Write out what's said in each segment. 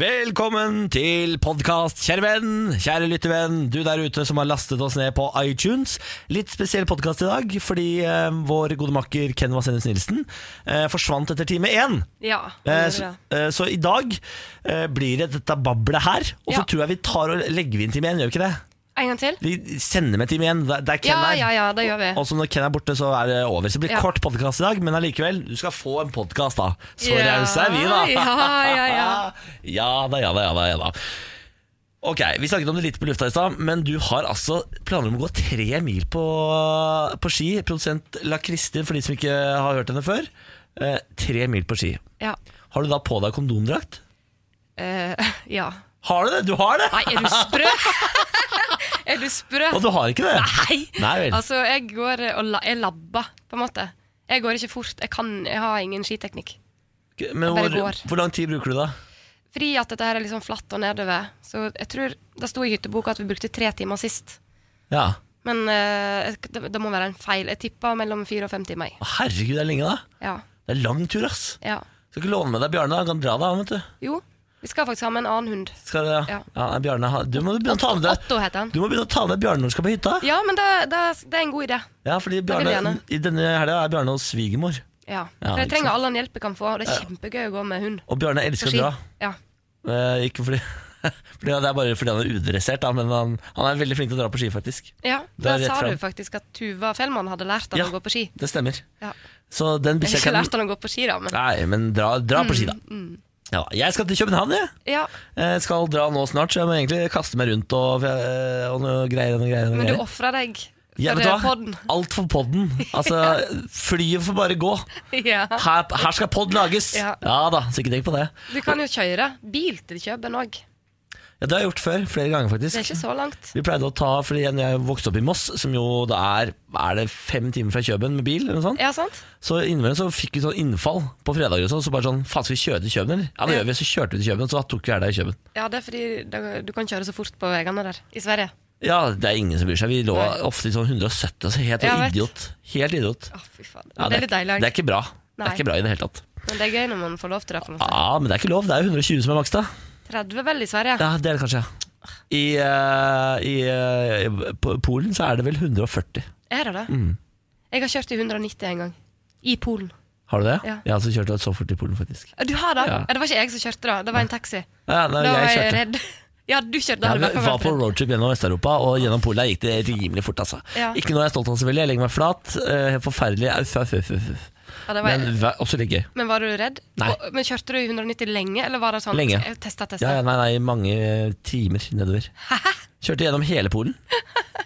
Velkommen til podkast, kjære venn, kjære lyttervenn, du der ute som har lastet oss ned på iTunes. Litt spesiell podkast i dag, fordi eh, vår gode makker Ken Vasenus Nilsen eh, forsvant etter time én. Ja. Eh, det så, gjør det. eh, så i dag eh, blir det dette bablet her, og så Ja. tror jeg vi tar og legger vi inn time én, gjør vi ikke det? En gang til? Vi sender med time én, der, der Ken Ja, er. ja, ja, det gjør vi. Og så når Ken er borte, så er det over. Så det blir Ja. kort podkast i dag, men allikevel, du skal få en podkast, da. Så Ja, rause er vi, da. ja, ja, ja. Ja da, ja da, ja da, ja da. Ok, Vi snakket om det litt på lufta i stad, men du har altså planer om å gå tre mil på, på ski. Produsent La Kristin, for de som ikke har hørt henne før. Eh, tre mil på ski. Ja. Har du da på deg kondomdrakt? Eh, ja. Har du det? Du har det! Nei, er du sprø? er du sprø? Og du har ikke det? Nei! Nei vel. Altså, jeg går og la jeg labber, på en måte. Jeg går ikke fort. Jeg, kan, jeg har ingen skiteknikk. men bare hvor, går. hvor lang tid bruker du da? Fordi at dette her er litt sånn flatt og nedover. Så jeg tror Det sto i hytteboka at vi brukte tre timer sist. Ja. Men eh, jeg- det, det må være en feil. Jeg tippa mellom fire og fem timer. jeg. Å, Herregud, det er lenge, da. Ja. Det er lang tur, ass. ja. Skal ikke låne med deg Bjarne. Han kan dra deg, han, vet du. Jo, vi skal faktisk ha med en annen hund. Skal du, ja. Ja. nei, Bjarne, han- du må begynne å ta med deg Otto heter han. Du må begynne å ta med deg Bjarne når du skal på hytta. Ja, men det, det, det er en god idé. Ja, fordi vil Bjarne, jeg I denne helga er Bjarne hos svigermor. Ja, Ja, for jeg ikke trenger all den hjelp jeg kan få. og Det er kjempegøy å gå med hund. Og Bjarne elsker på å ski. dra. Ja. Eh, ikke fordi, fordi Det er bare fordi han er udressert, da, men han, han er veldig flink til å dra på ski, faktisk. ja, Det er Da rett sa fram. du faktisk at Tuva Fellmann hadde lært han Ja. å gå på ski. Det stemmer. Ja. Så den Jeg har bikkja ikke kan lært Mm, han å gå på ski, da, men Nei, men dra, dra på ski, da. Ja, jeg skal til København, jeg. Ja, Jeg skal dra nå snart, så jeg må egentlig kaste meg rundt og, eh, og noe greier og noe greier. Og noe men du greier. ofra deg for Ja, vet du eh, hva? podden. Alt for podden. Altså, flyet får bare gå. Ja. Her, her skal pod lages! Ja. Ja. da, så ikke tenk på det. Du kan jo kjøre bil til Køben òg. Ja, det har jeg gjort før, flere ganger Det er faktisk. ikke så langt. Vi pleide å ta, fordi igjen, jeg vokste opp i Moss, som jo da er Er det fem timer fra Kjøben med bil? eller noe sånt Ja, sant? Så innimellom så fikk vi sånn innfall på fredager og sånn. Så bare sånn Faen, skal vi kjøre til Kjøben, eller? Ja, det Ja. gjør vi. Så kjørte vi til Kjøben, så tok vi helga i Kjøben. Ja, det er fordi da- du kan kjøre så fort på veiene der i Sverige. Ja, det er ingen som bryr seg. Vi lå Nei. ofte i sånn 170, altså helt Ja, jeg vet. idiot. Helt idiot. Å, fy faen. Ja, det er litt deilig Det er ikke bra. Det Nei. er ikke bra i det hele tatt. Men det er gøy når man får lov til det. på en måte. Ja, men det er ikke lov. Det er jo 120 som er maks, da. 30 vel i Sverige? Ja, det er det kanskje. ja. I, eh, i eh, på Polen så er det vel 140. Er det det? Mm. Jeg har kjørt i 190 en gang. I Polen. Har du det? Ja. Jeg har også kjørt så fort i Polen, faktisk. Du har det? Ja. Ja. Det var ikke jeg som kjørte, da. Det var en taxi. Ja, nei, da var jeg jeg, kjørte. redd. Ja, du kjørte. da Ja, hadde men du i hvert fall var på vært redd. roadtrip gjennom Vest-Europa, og gjennom Polen der gikk det rimelig fort. altså Ja. Ikke noe jeg er stolt av, selvfølgelig. Jeg legger meg flat. eh, Helt forferdelig. Au, au, au, au, au. Ja, det var jeg. Men Men, vær- også litt gøy. var du redd? Nei. Og, men kjørte du i 190 lenge, eller var det sånn Lenge. Jeg testa, testa. Ja, ja, nei, nei, mange timer nedover. Kjørte gjennom hele Polen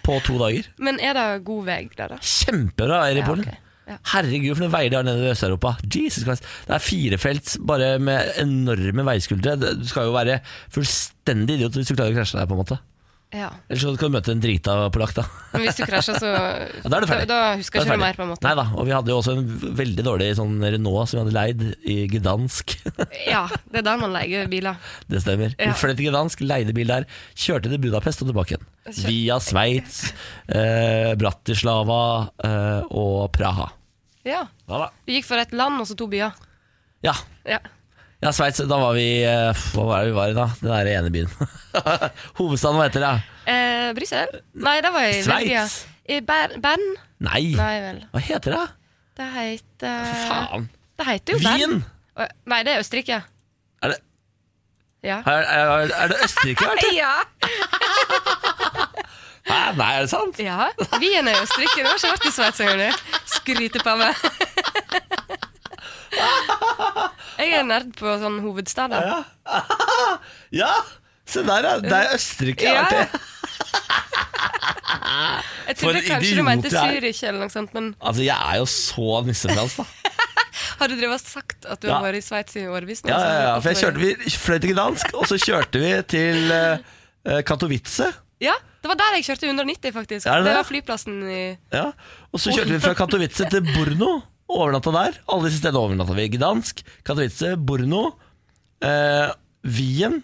på to dager. Men er det god vei der, da? Kjempebra veier i Ja, Polen. ok. Ja. Herregud, for noen veier de har nede i Øst-Europa. Jesus Christ. Det er firefelts bare med enorme veiskuldre. Det- Du skal jo være fullstendig idiot hvis du klarer å krasje deg, på en måte. Ja. Ellers så kan du møte en drita polakk, da. Men hvis du krasjer, så da er du ferdig. Da, husker Da er ferdig. ikke du mer, på en måte. Nei da, og vi hadde jo også en veldig dårlig sånn Renault som vi hadde leid i Gdansk. Ja, det er der man leier biler. Det stemmer. Ja. Vi fløy til Gdansk, leide bil der, kjørte til Budapest og tilbake igjen. Kjør- Via Sveits, eh, Bratislava eh, og Praha. Ja. Ja da. Vi gikk for et land og så to byer. Ja. Ja. Ja, Sveits, da var vi eh, Hva var det vi var i da? Den der ene byen. Hovedstaden, hva heter det? Eh, Brussel? Nei, det var i Sveits. Belgia. I Ber Bern? Nei, Nei vel. hva heter det? Det heter Faen! Det heter jo Bern. Wien! Å, Nei, det er Østerrike. Er det, Ja. er, er, er det Østerrike? eller? ja. Hæ? Nei, er det sant? ja. Wien er i Østerrike. Du har ikke vært i Sveits engang, du. Skryter på meg. Jeg er nerd på sånn hovedstader. Ja. ja. Se der, ja. Det er Østerrike. Ja. artig. Jeg For trodde en kanskje idiot du mente jeg er. Zürich eller noe sånt, men Altså, jeg er jo så nissefrans, da. har du drevet og sagt at du Ja. har vært i Sveits i årevis nå? Ja, ja, ja. så- For jeg kjørte, vi fløy til Gdansk, og så kjørte vi til eh, Katowice. Ja, det var der jeg kjørte 190, faktisk. Er det det, det? var flyplassen i Ja. Og så kjørte vi fra Katowice til Borno. Overnatta der. Alle disse stedene overnatta vi. Gdansk, Katowice, Borno, eh, Wien,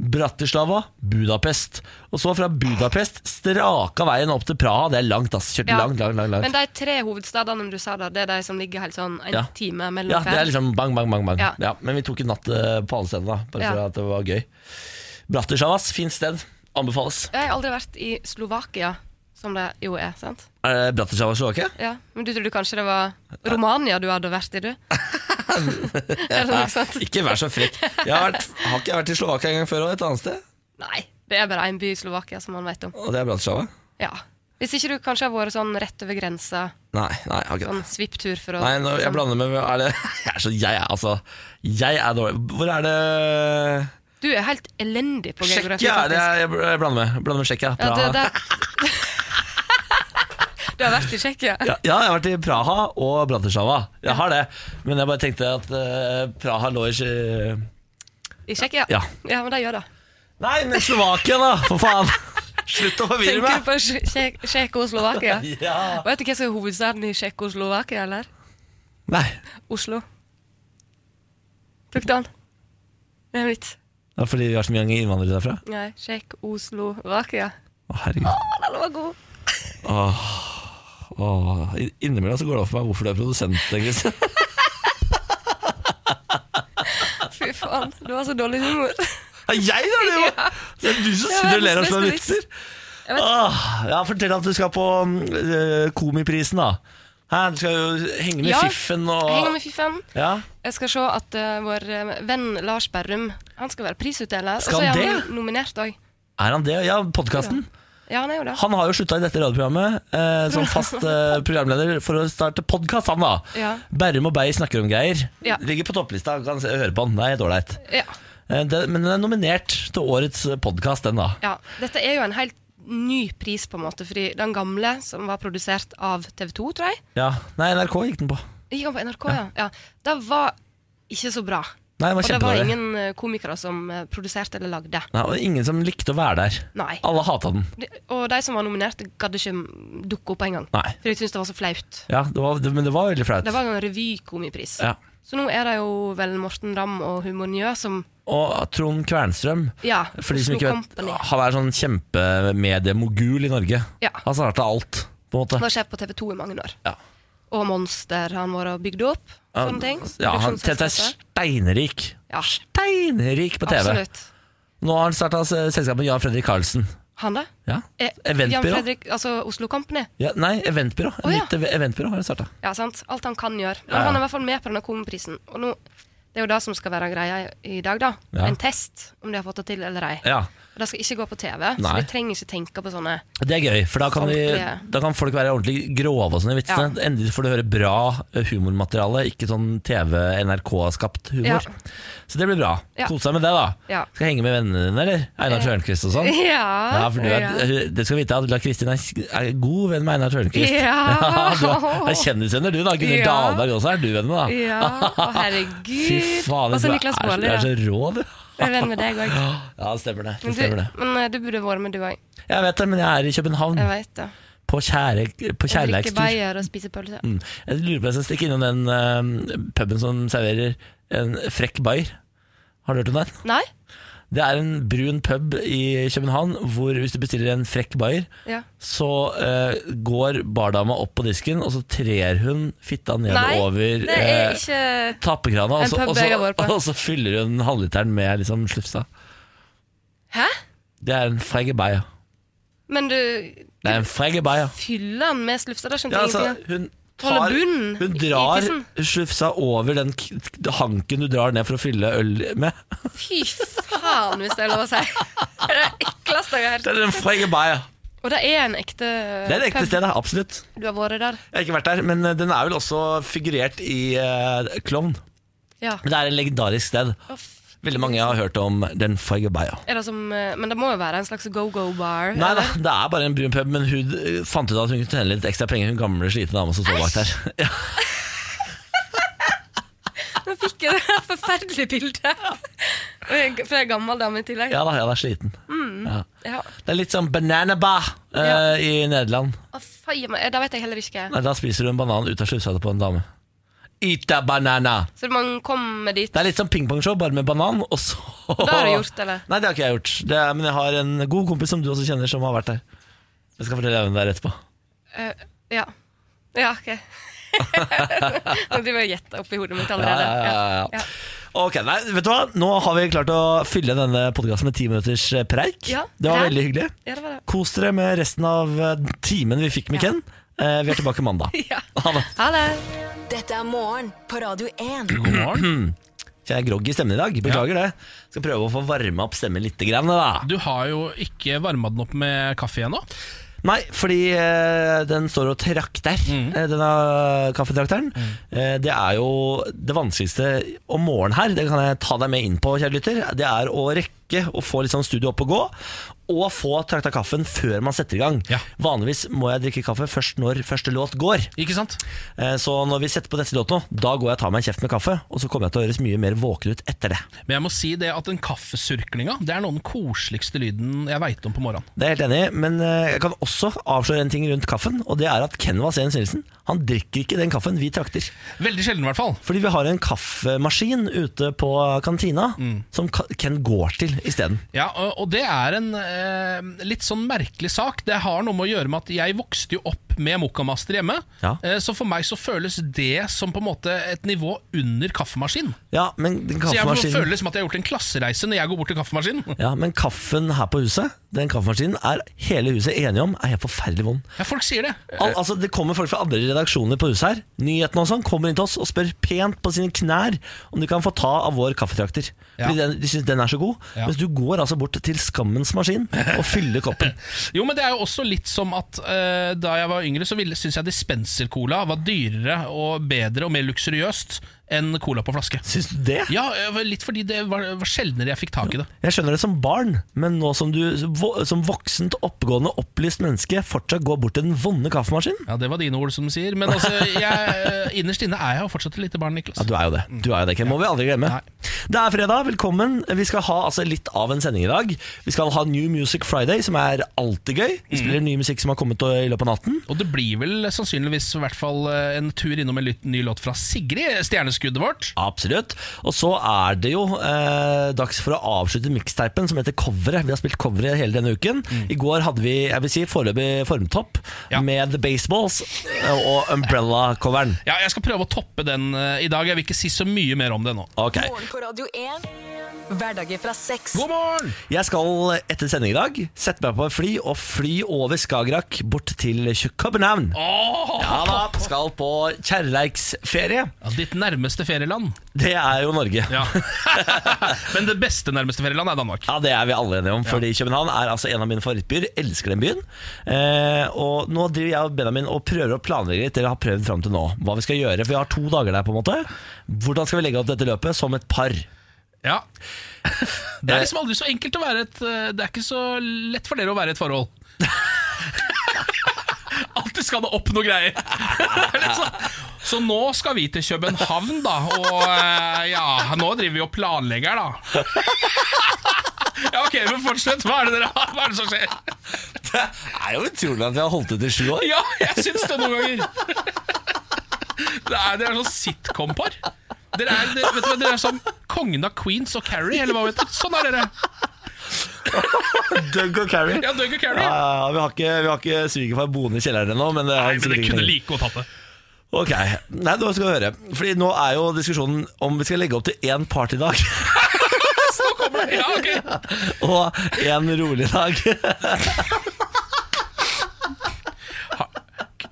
Bratislava, Budapest. Og så fra Budapest straka veien opp til Praha. Det er langt, ass. Kjørte Ja. langt, langt, langt. langt. Men de tre hovedstadene du sa, da, det er de som ligger helt sånn en Ja. time mellom Ja, det er hver? liksom bang, bang, bang. bang. Ja. Ja. men vi tok en natt eh, på alle stedene, da. Bare Ja. for at det var gøy. Bratislava, ass. Fint sted. Anbefales. Jeg har aldri vært i Slovakia, som det jo er, sant? Er det Bratislava Eh, Slovakia? Ja, Men du trodde kanskje det var Romania du hadde vært i, du? er det noe sånt? Ikke vær så frekk. Jeg har, vært, har ikke jeg vært i Slovakia en gang før og et annet sted. Nei, det er bare én by i Slovakia som man vet om. Og det er Bratislava. Ja. Hvis ikke du kanskje har vært sånn rett over grensa, Nei, nei, jeg har ikke det. sånn svipptur for å sånn. Nei, nå, jeg blander med er det, jeg er så, jeg, er- altså, jeg er dårlig. Hvor er det Du er helt elendig på geografi, Tsjekkia er det faktisk. jeg, jeg blander med. Jeg Blander med Tsjekkia. Ja, det, Praha. det. du har vært i Tsjekkia? Ja, ja, jeg har vært i Praha og Bratislava. Jeg har det. Men jeg bare tenkte at eh, Praha lå i Tsje- I Tsjekkia? Ja. ja, men det gjør det. Nei, men Slovakia, da! For faen! Slutt å forvirre Tenker du meg! på Tsje- Tsjek- Tsjekkoslovakia? Ja. Vet du hva som er hovedstaden i Tsjekkoslovakia, eller? Nei, Oslo. Tok den. Det er en vits. det er fordi vi har så mange innvandrere derfra. Nei, Tsjekkoslovakia. Å, herregud. Å, den var god! Åh, åh. I- Innimellom så går det opp for meg hvorfor du er produsent. Kristian. Fy faen, det var så dårlig humor. Er jeg da, det var? Det er du som sitter og ler av sånne verdens beste vitser. vits. Jeg vet. Åh, ja, fortell at du skal på øh, Komiprisen, da. Hæ, du skal jo henge med Ja, fiffen og Henger med fiffen. ja. Jeg skal se at eh, vår eh, venn Lars Berrum Han skal være prisutdeler. Skal og så er han han nominert òg. Er han det? Ja, podkasten. Ja, han er jo det. Han har jo slutta i dette radioprogrammet eh, som fast eh, programleder for å starte podkast, han da. Ja. Berrum og Beyer snakker om greier. Ja. Ligger på topplista, kan se- høre på han. Det er helt ålreit. Ja, Eh, den- Men den er nominert til årets podkast, den da. ja. Dette er jo en helt ny pris, på en måte, fordi den gamle, som var produsert av TV 2, tror jeg Ja. Nei, NRK gikk den på. Gikk han på NRK, ja. ja. Det var ikke så bra. Nei, den Og var det var kjempedårlig. ingen eh, komikere som eh, produserte eller lagde. Nei, og ingen som likte å være der. Nei. Alle hata den. De, og de som var nominert, gadd ikke mm, dukke opp engang. Nei. For de syntes det var så flaut. Ja, det var, det, men det var veldig flaut. Det var en revykomipris. Ja. Så nå er det jo vel Morten Ramm og Humor Njø som Og Trond Kvernstrøm, Ja. for de som Oslo ikke vet, Company. han er sånn kjempemediemogul i Norge. Ja. Han starta alt, på en måte. Han har sjef på TV 2 i mange år. Ja. Og Monster har han vært og bygd opp. Sånne ting. Ja, han tjente Produksjonsselskapet. seg steinrik. Ja. Steinrik på TV. Absolutt. Nå har han starta selskapet med Jan Fredrik Karlsen. Han, da? Ja. Eh, Jan Eventbyrå. Fredrik, altså Oslo Company. Ja, nei, eventbyrå. Å, ja. Nytt ev- eventbyrå har han starta. Ja, sant? Alt han kan gjøre. Men Ja, ja. han er i hvert fall med på denne komiprisen. Og nå, det er jo det som skal være greia i i dag, da. Ja. En test, om de har fått det til eller ei. Ja. Og Det skal ikke gå på TV, så Nei. vi trenger ikke tenke på sånne Det er gøy, for da kan, vi, Samtlige. da kan folk være ordentlig grove og sånn i vitsene. Endelig får du høre bra eh, humormateriale, ikke sånn TV-NRK-skapt humor. Ja. Så det blir bra. Ja. Kos deg med det, da. Ja. Skal jeg henge med vennene dine, eller? Einar Tørnquist og sånn? Ja, Ja. for du, er, du skal vite at La Kristin er, er god venn med Einar Tørnquist. Ja. du er, Altså, er kjendisvenner du, da. Gunnar Ja. Dahlberg også er du venn med, da. Ja, å herregud. Og du så er, Altså, Niklas er, Baarli, er da. så rå, du. Jeg er venn med deg òg. Ja, det stemmer det. det, Men, stemmer det. Mm. du- men eh, du burde vært med, du òg. Jeg vet det, men jeg er i København, Jeg veit det. på, kjære, på Jeg drikker kjærleikstur. bayer og spiser pølse. Mm. Jeg lurer på om jeg skal stikke innom den eh, puben som serverer en frekk bayer. Har du hørt om den? Nei? Det er en brun pub i København hvor hvis du bestiller en frekk bayer, Ja. så eh, går bardama opp på disken, og så trer hun fitta Nei, nedover Det er eh, ikke tappekrana, og en så, pub og, jeg har vært så, på. og så fyller hun halvliteren med liksom slufsa. Hæ? Det er en fregge bayer. Men du Det er en fregge bayer. fyller den med slufsa? Det skjønte Ja, jeg altså, ingenting av. hun Holder tar bunnen Hun i drar tissen. slufsa over den k- hanken du drar ned for å fylle øl med. Fy faen, hvis det er lov å si. Det er det ekleste jeg har hørt. Det er en fregge bayer. Og det er en ekte Det er det ekte stedet, absolutt. Du har vært der? Jeg har ikke vært der, men eh, den er vel også figurert i uh, Klovn. Ja. Men det er en legendarisk sted. Å, f- Veldig mange har hørt om den fregge bayer. Er det som, eh, men det må jo være en slags go-go-bar? Nei da, det er bare en brun pub, men hun eh, fant ut at hun kunne tjene litt ekstra penger, hun gamle, slitne dama som står bak der. Ja, Nå fikk jeg det forferdelige bildet. Og jeg- For jeg er gammel dame i tillegg. ja da, ja da, sliten. Ja. Ja. Det er litt sånn banana bar eh, Ja. i Nederland. Å, fei, men, eh, Da vet jeg heller ikke. Nei, da spiser du en banan ut av sluttsettet på en dame. Ita banana. Så man kommer dit. Det er litt som pingpongshow, bare med banan, og så Det har du gjort, eller? Nei, det har ikke jeg gjort. Det er, men jeg har en god kompis som du også kjenner, som har vært der. Jeg skal fortelle deg hvem det er etterpå. Eh, ja. Ja, ok. Nå driver jeg og gjetter oppi hodet mitt Ja, allerede. ja, ja, ja. Ja. Ok, nei, vet du hva? Nå har vi klart å fylle denne podkasten med ti minutters eh, preik. Ja, det var her. veldig hyggelig. Ja, det var det. Kos dere med resten av eh, timen vi fikk med Ja. Ken. Eh, Vi er tilbake mandag. Ja. Ha det. Ha det. Dette er morgen på Radio 1. God morgen. Jeg er groggy i stemmen i dag. Beklager det. Skal prøve å få varma opp stemmen litt. Grann, da. Du har jo ikke varma den opp med kaffe ennå. Nei, fordi eh, den står og trakter, eh, denne kaffetrakteren. Eh, det er jo det vanskeligste om morgenen her, det kan jeg ta deg med inn på, kjære lytter. Det er å rekke å få litt sånn studio opp og gå. Og få trakta kaffen før man setter i gang. Ja. Vanligvis må jeg drikke kaffe først når første låt går. Ikke sant? Eh, Så når vi setter på neste låt nå, da går jeg og tar meg en kjeft med kaffe. Og så kommer jeg til å høres mye mer våken ut etter det. Men jeg må si det at den kaffesurklinga Det er noe av den koseligste lyden jeg veit om på morgenen. Det er jeg helt enig i, men eh, jeg kan også avsløre en ting rundt kaffen. Og det er at Kenvas Jens Nilsen han drikker ikke den kaffen vi trakter. Veldig sjelden, i hvert fall. Fordi vi har en kaffemaskin ute på kantina Mm. som Ka- Ken går til isteden. Ja, og- og det er en eh, litt sånn merkelig sak. Det har noe med å gjøre med at jeg vokste jo opp med Mokkamaster hjemme. Ja. Eh, så for meg så føles det som på en måte et nivå under kaffemaskin. Ja, men den Så jeg må- kaffemaskinen føler som at jeg har gjort en klassereise når jeg går bort til kaffemaskinen. ja, men kaffen her på huset, den kaffemaskinen er hele huset enige om er helt forferdelig vond. Ja, folk sier det. Al altså, det kommer folk fra andre redaksjoner på huset her, nyhetene og sånn, kommer inn til oss og spør pent på sine knær om de kan få ta av vår kaffetrakter. Ja. Fordi den, de syns den er så god. Ja. Mens du går altså bort til skammens maskin og fyller koppen. Jo, men det er jo også litt som at eh, da jeg var yngre, så ville- syntes jeg dispenser-cola var dyrere og bedre og mer luksuriøst enn cola på flaske. Syns du det? Ja, eh, litt fordi det var, var sjeldnere jeg fikk tak i det. Jeg skjønner det som barn, men nå som du vo- som voksent, oppegående, opplyst menneske fortsatt går bort til den vonde kaffemaskinen Ja, Det var dine ord, som de sier. Men altså, jeg, eh, innerst inne er jeg jo fortsatt et lite barn, Niklas. ja, du er jo det. Du er jo det, Ken. Må vi aldri glemme. Nei. Det er fredag. Velkommen. Vi skal ha altså, litt av en sending i dag. Vi skal ha New Music Friday, som er alltid gøy. Vi Mm. spiller ny musikk som har kommet i løpet av natten. Og det blir vel sannsynligvis i hvert fall eh, en tur innom en lyt- ny låt fra Sigrid, stjerneskuddet vårt. Absolutt. Og så er det jo eh, dags for å avslutte miksteipen som heter Coveret. Vi har spilt Coveret hele denne uken. I går hadde vi jeg vil si, foreløpig formtopp Mm. Ja. med The Baseballs eh, og Umbrella-coveren. Ja, Jeg skal prøve å toppe den eh, i dag. Jeg vil ikke si så mye mer om det nå. Ok. Morgen på Radio 1. Hverdager fra seks. God morgen! Jeg skal etter sending i dag sette meg på et fly og fly over Skagerrak bort til København. Åh! Ja da, skal på kjærleiksferie. Ja, ditt nærmeste ferieland. Det er jo Norge. Ja. Men det beste nærmeste ferieland er Danmark. Ja, Det er vi alle enige om, fordi København er altså en av mine favorittbyer. Elsker den byen. Eh, og nå driver jeg og Benjamin og prøver å planlegge litt, eller har prøvd fram til nå, hva vi skal gjøre. For vi har to dager der, på en måte. Hvordan skal vi legge opp dette løpet som et par? Ja. Det er liksom aldri så enkelt å være et eh, Det er ikke så lett for dere å være i et forhold. Alltid skal det opp noe greier. Liksom. Så nå skal vi til København, da. Og eh, ja, nå driver vi og planlegger, da. Ja, ok, men fortsett. Hva er det dere har? Hva er det som skjer? Det er jo utrolig at vi har holdt ut i sju år. Ja, jeg syns det noen ganger. Det er, det er sånn sitcom-par. Dere er, dere, vet du hva, dere er som kongen av Queens og Carrie, eller hva vet du. Sånn er dere. Doug og Carrie. Ja, Doug og Carrie. Ja, ja, ja, vi har ikke, vi har ikke svigerfar boende i kjelleren ennå, men det er Nei, men sikkert dere kunne ikke- like godt tatt det. Ok, Nei, nå skal du høre. Fordi nå er jo diskusjonen om vi skal legge opp til én partydag Nå kommer det. Ja, ok. og én rolig dag.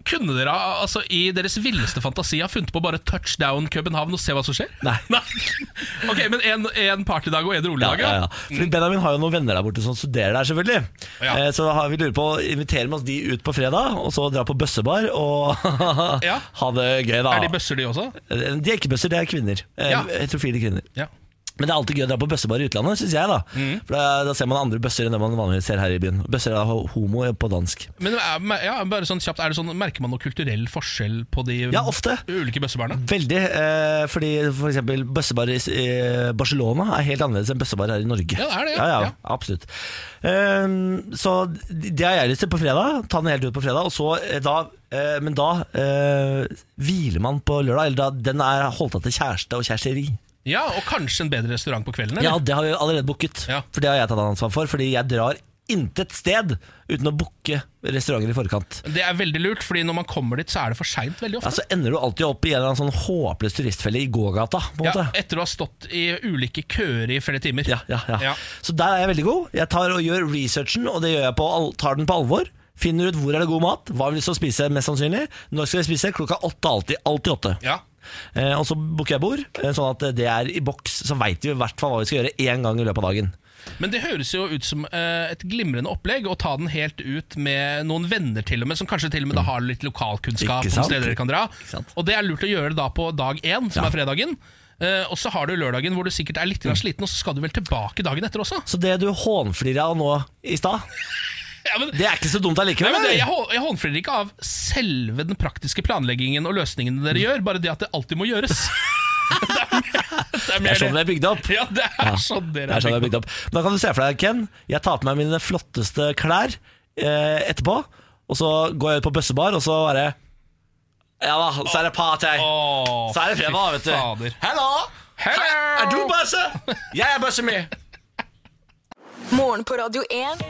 Kunne dere altså, i deres villeste fantasi ha funnet på bare touchdown København og se hva som skjer? Nei. Ok, men en, en partydag og en rolig Ja, dag, ja, ja. Fordi Benjamin har jo noen venner der borte som studerer der, selvfølgelig. Ja. Eh, Så har vi lurer på å invitere med oss de ut på fredag, og så dra på bøssebar og Ja. ha det gøy, da. Er de bøsser, de også? Eh, de er ikke bøsser, det er kvinner. Eh, Ja. Heterofile kvinner. Ja. Men det er alltid gøy å dra på bøssebar i utlandet, syns jeg. Da Mm. For da, da ser man andre bøsser enn det man vanligvis ser her i byen. Bøsser er da homo på dansk. Men er, ja, bare sånn kjapt, er det sånn, Merker man noe kulturell forskjell på de Ja, ofte. ulike bøssebarna? Veldig. Eh, fordi for eksempel bøssebar i eh, Barcelona er helt annerledes enn bøssebar her i Norge. Ja, det er det, ja. Ja, ja, Ja. Absolutt. Eh, så det har jeg lyst til på fredag. Ta den helt ut på fredag. Og så eh, da eh, Men da eh, hviler man på lørdag. Eller da, den er holdt av til kjæreste og kjæresteri. Ja, Og kanskje en bedre restaurant på kvelden? Ja, Eller? det har vi allerede booket. Ja. For det har jeg tatt ansvar for. Fordi jeg drar intet sted uten å booke restauranter i forkant. Det er veldig lurt, fordi når man kommer dit, så er det for seint veldig ofte. Ja, så ender du alltid opp i en eller annen sånn håpløs turistfelle i gågata. På en Ja, måte. etter å ha stått i ulike køer i flere timer. Ja, ja, ja. Ja. Så der er jeg veldig god. Jeg tar og gjør researchen, og det gjør jeg på, al- tar den på alvor. Finner ut hvor er det god mat, hva har vi lyst til å spise mest sannsynlig. Når skal vi spise? Klokka åtte alltid. Alltid åtte. Ja. Eh, og så booker jeg bord, eh, sånn at det er i boks. Så veit vi i hvert fall hva vi skal gjøre én gang i løpet av dagen. Men det høres jo ut som eh, et glimrende opplegg å ta den helt ut med noen venner til og med, som kanskje til og med da har litt lokalkunnskap Mm. Ikke om sant? steder dere kan dra. sant? Og det er lurt å gjøre da på dag én, som Ja. Mm. er fredagen. Eh, og så har du lørdagen hvor du sikkert er litt grann sliten, og så skal du vel tilbake dagen etter også. Så det du hånflirer av nå i stad, Ja, men, det er ikke så dumt Nei, allikevel. men det, jeg, hå- jeg håndflirer ikke av selve den praktiske planleggingen og løsningene dere gjør, bare det at det alltid må gjøres. det er Det mer er sånn vi er bygd opp. Ja, det er sånn Det dere er sånn jeg er bygd bygd opp. Men Da kan du se for deg, Ken, jeg tar på meg mine flotteste klær eh, etterpå, og så går jeg ut på bøssebar, og så bare Ja da, så er det party. Åh, Så er det fredag, fy vet du. fader. Hello! Hello! Er du bøsse? Jeg er bøsse mi. Morgen på Radio 1.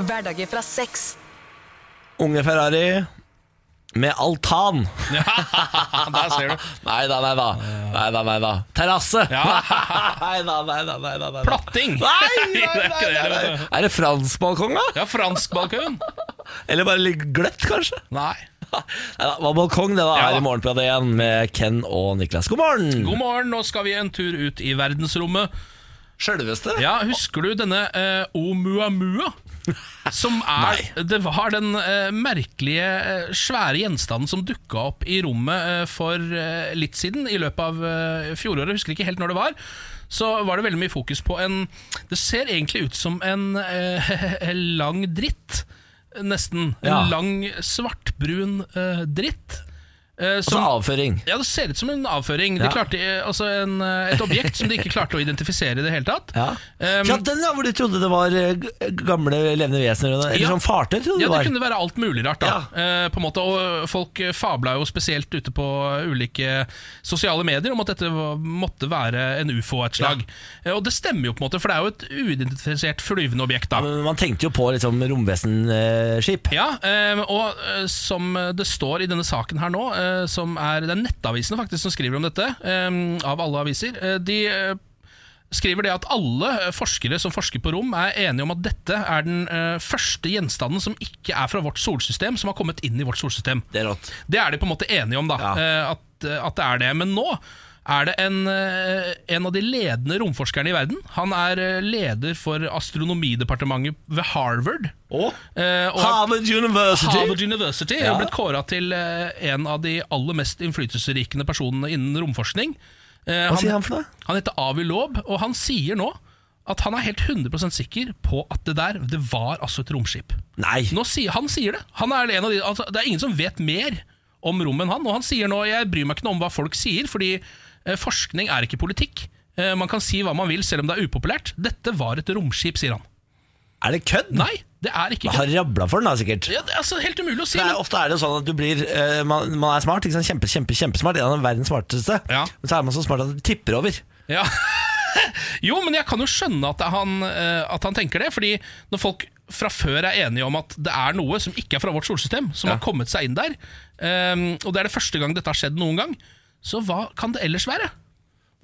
Hverdager fra seks. Unge Ferrari med altan. Der ser du. Nei da, nei da. Nei da, nei da. Terrasse. Ja. Nei da, nei da. nei da, nei da. Platting. Nei, nei, Det er nei, ikke det, nei, det er nei. Er det fransk balkong, da? Ja, fransk balkon. Eller bare litt gløtt, kanskje? Nei. Neida, det var balkong det da Ja. her i morgen på det igjen med Ken og Niklas. God morgen! God morgen, nå skal vi en tur ut i verdensrommet. Sjølveste? Ja, Husker du denne eh, Oumuamua? Som er Det var den eh, merkelige, eh, svære gjenstanden som dukka opp i rommet eh, for eh, litt siden, i løpet av eh, fjoråret. Husker ikke helt når det var. Så var det veldig mye fokus på en Det ser egentlig ut som en eh, lang dritt. Nesten. En Ja. lang, svartbrun eh, dritt. eh, Altså avføring. Ja, det ser ut som en avføring. De Ja. klarte, eh, altså en, eh, et objekt som de ikke klarte å identifisere i det hele tatt. Ja. Um, ja, den ja, hvor de trodde det var eh, g- gamle levende vesener eller Ja. sånn fartøy. trodde det ja, det var. kunne være alt mulig rart, da. Eh, på en måte, og folk eh, fabla jo spesielt ute på eh, ulike sosiale medier om at dette var- måtte være en ufo av et slag. Eh, og det stemmer jo, på en måte, for det er jo et uidentifisert flyvende objekt, da. Men Man tenkte jo på liksom, romvesenskip. Ja, eh, og eh, som det står i denne saken her nå, eh, som er, det er nettavisene faktisk som skriver om dette, eh, av alle aviser, eh, de eh, skriver det at alle forskere som forsker på rom, er enige om at dette er den eh, første gjenstanden som ikke er fra vårt solsystem, som har kommet inn i vårt solsystem. Det er rått. Det er de på en måte enige om, da. Ja. eh, At, at det er det. Men nå er det en, eh, en av de ledende romforskerne i verden. Han er eh, leder for astronomidepartementet ved Harvard. Og eh, og har- Harvard University! Harvard University Ja. har blitt kåra til eh, en av de aller mest innflytelsesrikende personene innen romforskning. Eh, Hva sier han for noe? han heter Avi Loeb, og han sier nå at han er helt 100 sikker på at det der det var altså et romskip. Nei. Nå sier, han sier det. Han er en av de, altså, det er ingen som vet mer om rom enn han. Og han sier nå jeg bryr meg ikke noe om hva folk sier, fordi eh, forskning er ikke politikk. Eh, man kan si hva man vil, selv om det er upopulært. Dette var et romskip, sier han. Er det kødd? Nei, det er ikke Har rabla for den, da, sikkert. ja, det er altså helt umulig å si. Det er, men- ofte er det jo sånn at du blir eh, man, man er smart, ikke sant? kjempe, kjempe, kjempesmart. En av verdens smarteste. Ja. Men så er man så smart at det tipper over. Ja. Jo, men jeg kan jo skjønne at han, eh, at han tenker det. Fordi når folk fra før er enige om at det er noe som ikke er fra vårt solsystem, som har kommet seg inn der, eh, og det er det første gang dette har skjedd noen gang, så hva kan det ellers være?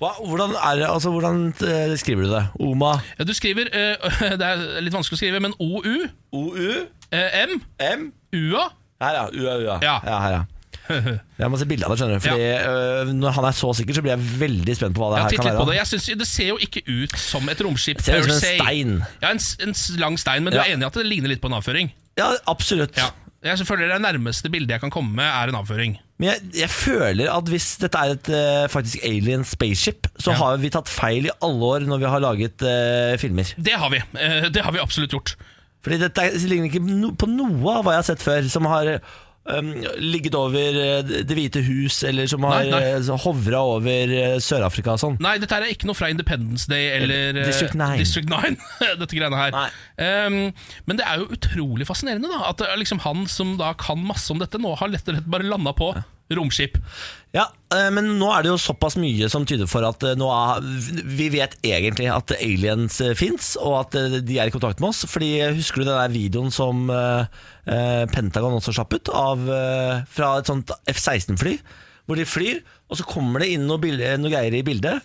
Hva, hvordan, er, det- altså, hvordan eh, skriver du det? Oma? Ja, du skriver eh, Det er litt vanskelig å skrive, men OU, OU? eh, M, M? UA Her, ja. UA, UA. Ja. her, ja. Jeg må se bilde av det, skjønner du. Fordi øh, Når han er så sikker, så blir jeg veldig spent på hva det Jeg har her tittet kan litt på være. det. Jeg synes, det ser jo ikke ut som et romskip. ser ut som per en se. stein. Ja, en, s- en s- lang stein, men du Ja. er enig i at det ligner litt på en avføring? Ja, absolutt. Ja. Jeg føler det nærmeste bildet jeg kan komme med, er en avføring. Men jeg, jeg føler at hvis dette er et eh, faktisk alien spaceship, så Ja. har vi tatt feil i alle år når vi har laget eh, filmer. Det har vi. Eh, Det har vi absolutt gjort. Fordi dette er- ligner ikke no, på noe av hva jeg har sett før, som har um, ligget over eh, Det hvite hus, eller som har Nei, nei. eh, så hovra over eh, Sør-Afrika og sånn. Nei, dette her er ikke noe fra Independence Day eller eh, District 9. District 9 dette greiene her. Nei. Ehm, men det er jo utrolig fascinerende da at det er liksom han som da kan masse om dette, nå har lett og slett bare landa på romskip. Ja, eh, men nå er det jo såpass mye som tyder for at eh, nå er, vi vet egentlig at aliens fins, og at eh, de er i kontakt med oss. Fordi eh, Husker du den der videoen som eh, eh, Pentagon også slapp ut, av, eh, fra et sånt F-16-fly? Hvor de flyr, og så kommer det inn noe, bil- eh, noe greier i bildet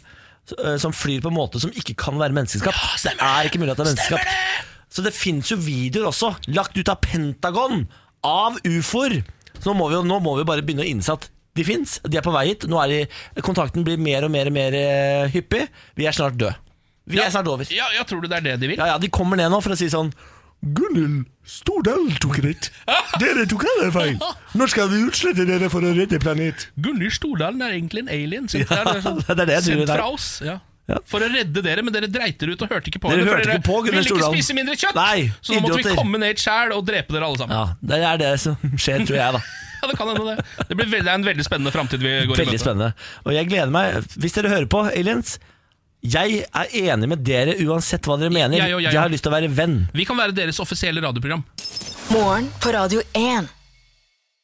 eh, som flyr på en måte som ikke kan være menneskeskapt. det er ikke mulig at det er menneskeskapt. Så det fins jo videoer også, lagt ut av Pentagon, av ufoer. Så nå må vi jo nå må vi jo bare begynne å innse at de fins, de er på vei hit. Nå er de, kontakten blir mer og mer og mer eh, hyppig. Vi er snart døde. Vi er snart over. Ja, ja, tror du det er det de vil? Ja, ja, de kommer ned nå for å si sånn Gunnhild Stordal tok rett. Dere tok alle feil. Nå skal vi utslette dere for å redde planet. Gunnhild Stordalen er egentlig en alien. Sendt, Ja, fra- det er det jeg tror sånn sendt det er. fra oss. Ja. Ja. For å redde dere, men dere dreit dere ut og hørte ikke på Dere det, for hørte ikke på Gunnhild ville ikke Stordalen. spise mindre kjøtt, Nei, så nå måtte idioter. vi komme ned sjæl og drepe dere alle sammen. Ja, det er det som skjer, tror jeg, da. Ja, det kan hende det. Det blir veldig, det er en veldig spennende framtid vi går i Veldig møte. spennende. Og jeg gleder meg. Hvis dere hører på, aliens, jeg er enig med dere uansett hva dere mener. Jeg og jeg. Jeg har lyst til å være venn. Vi kan være deres offisielle radioprogram. Morgen på Radio 1.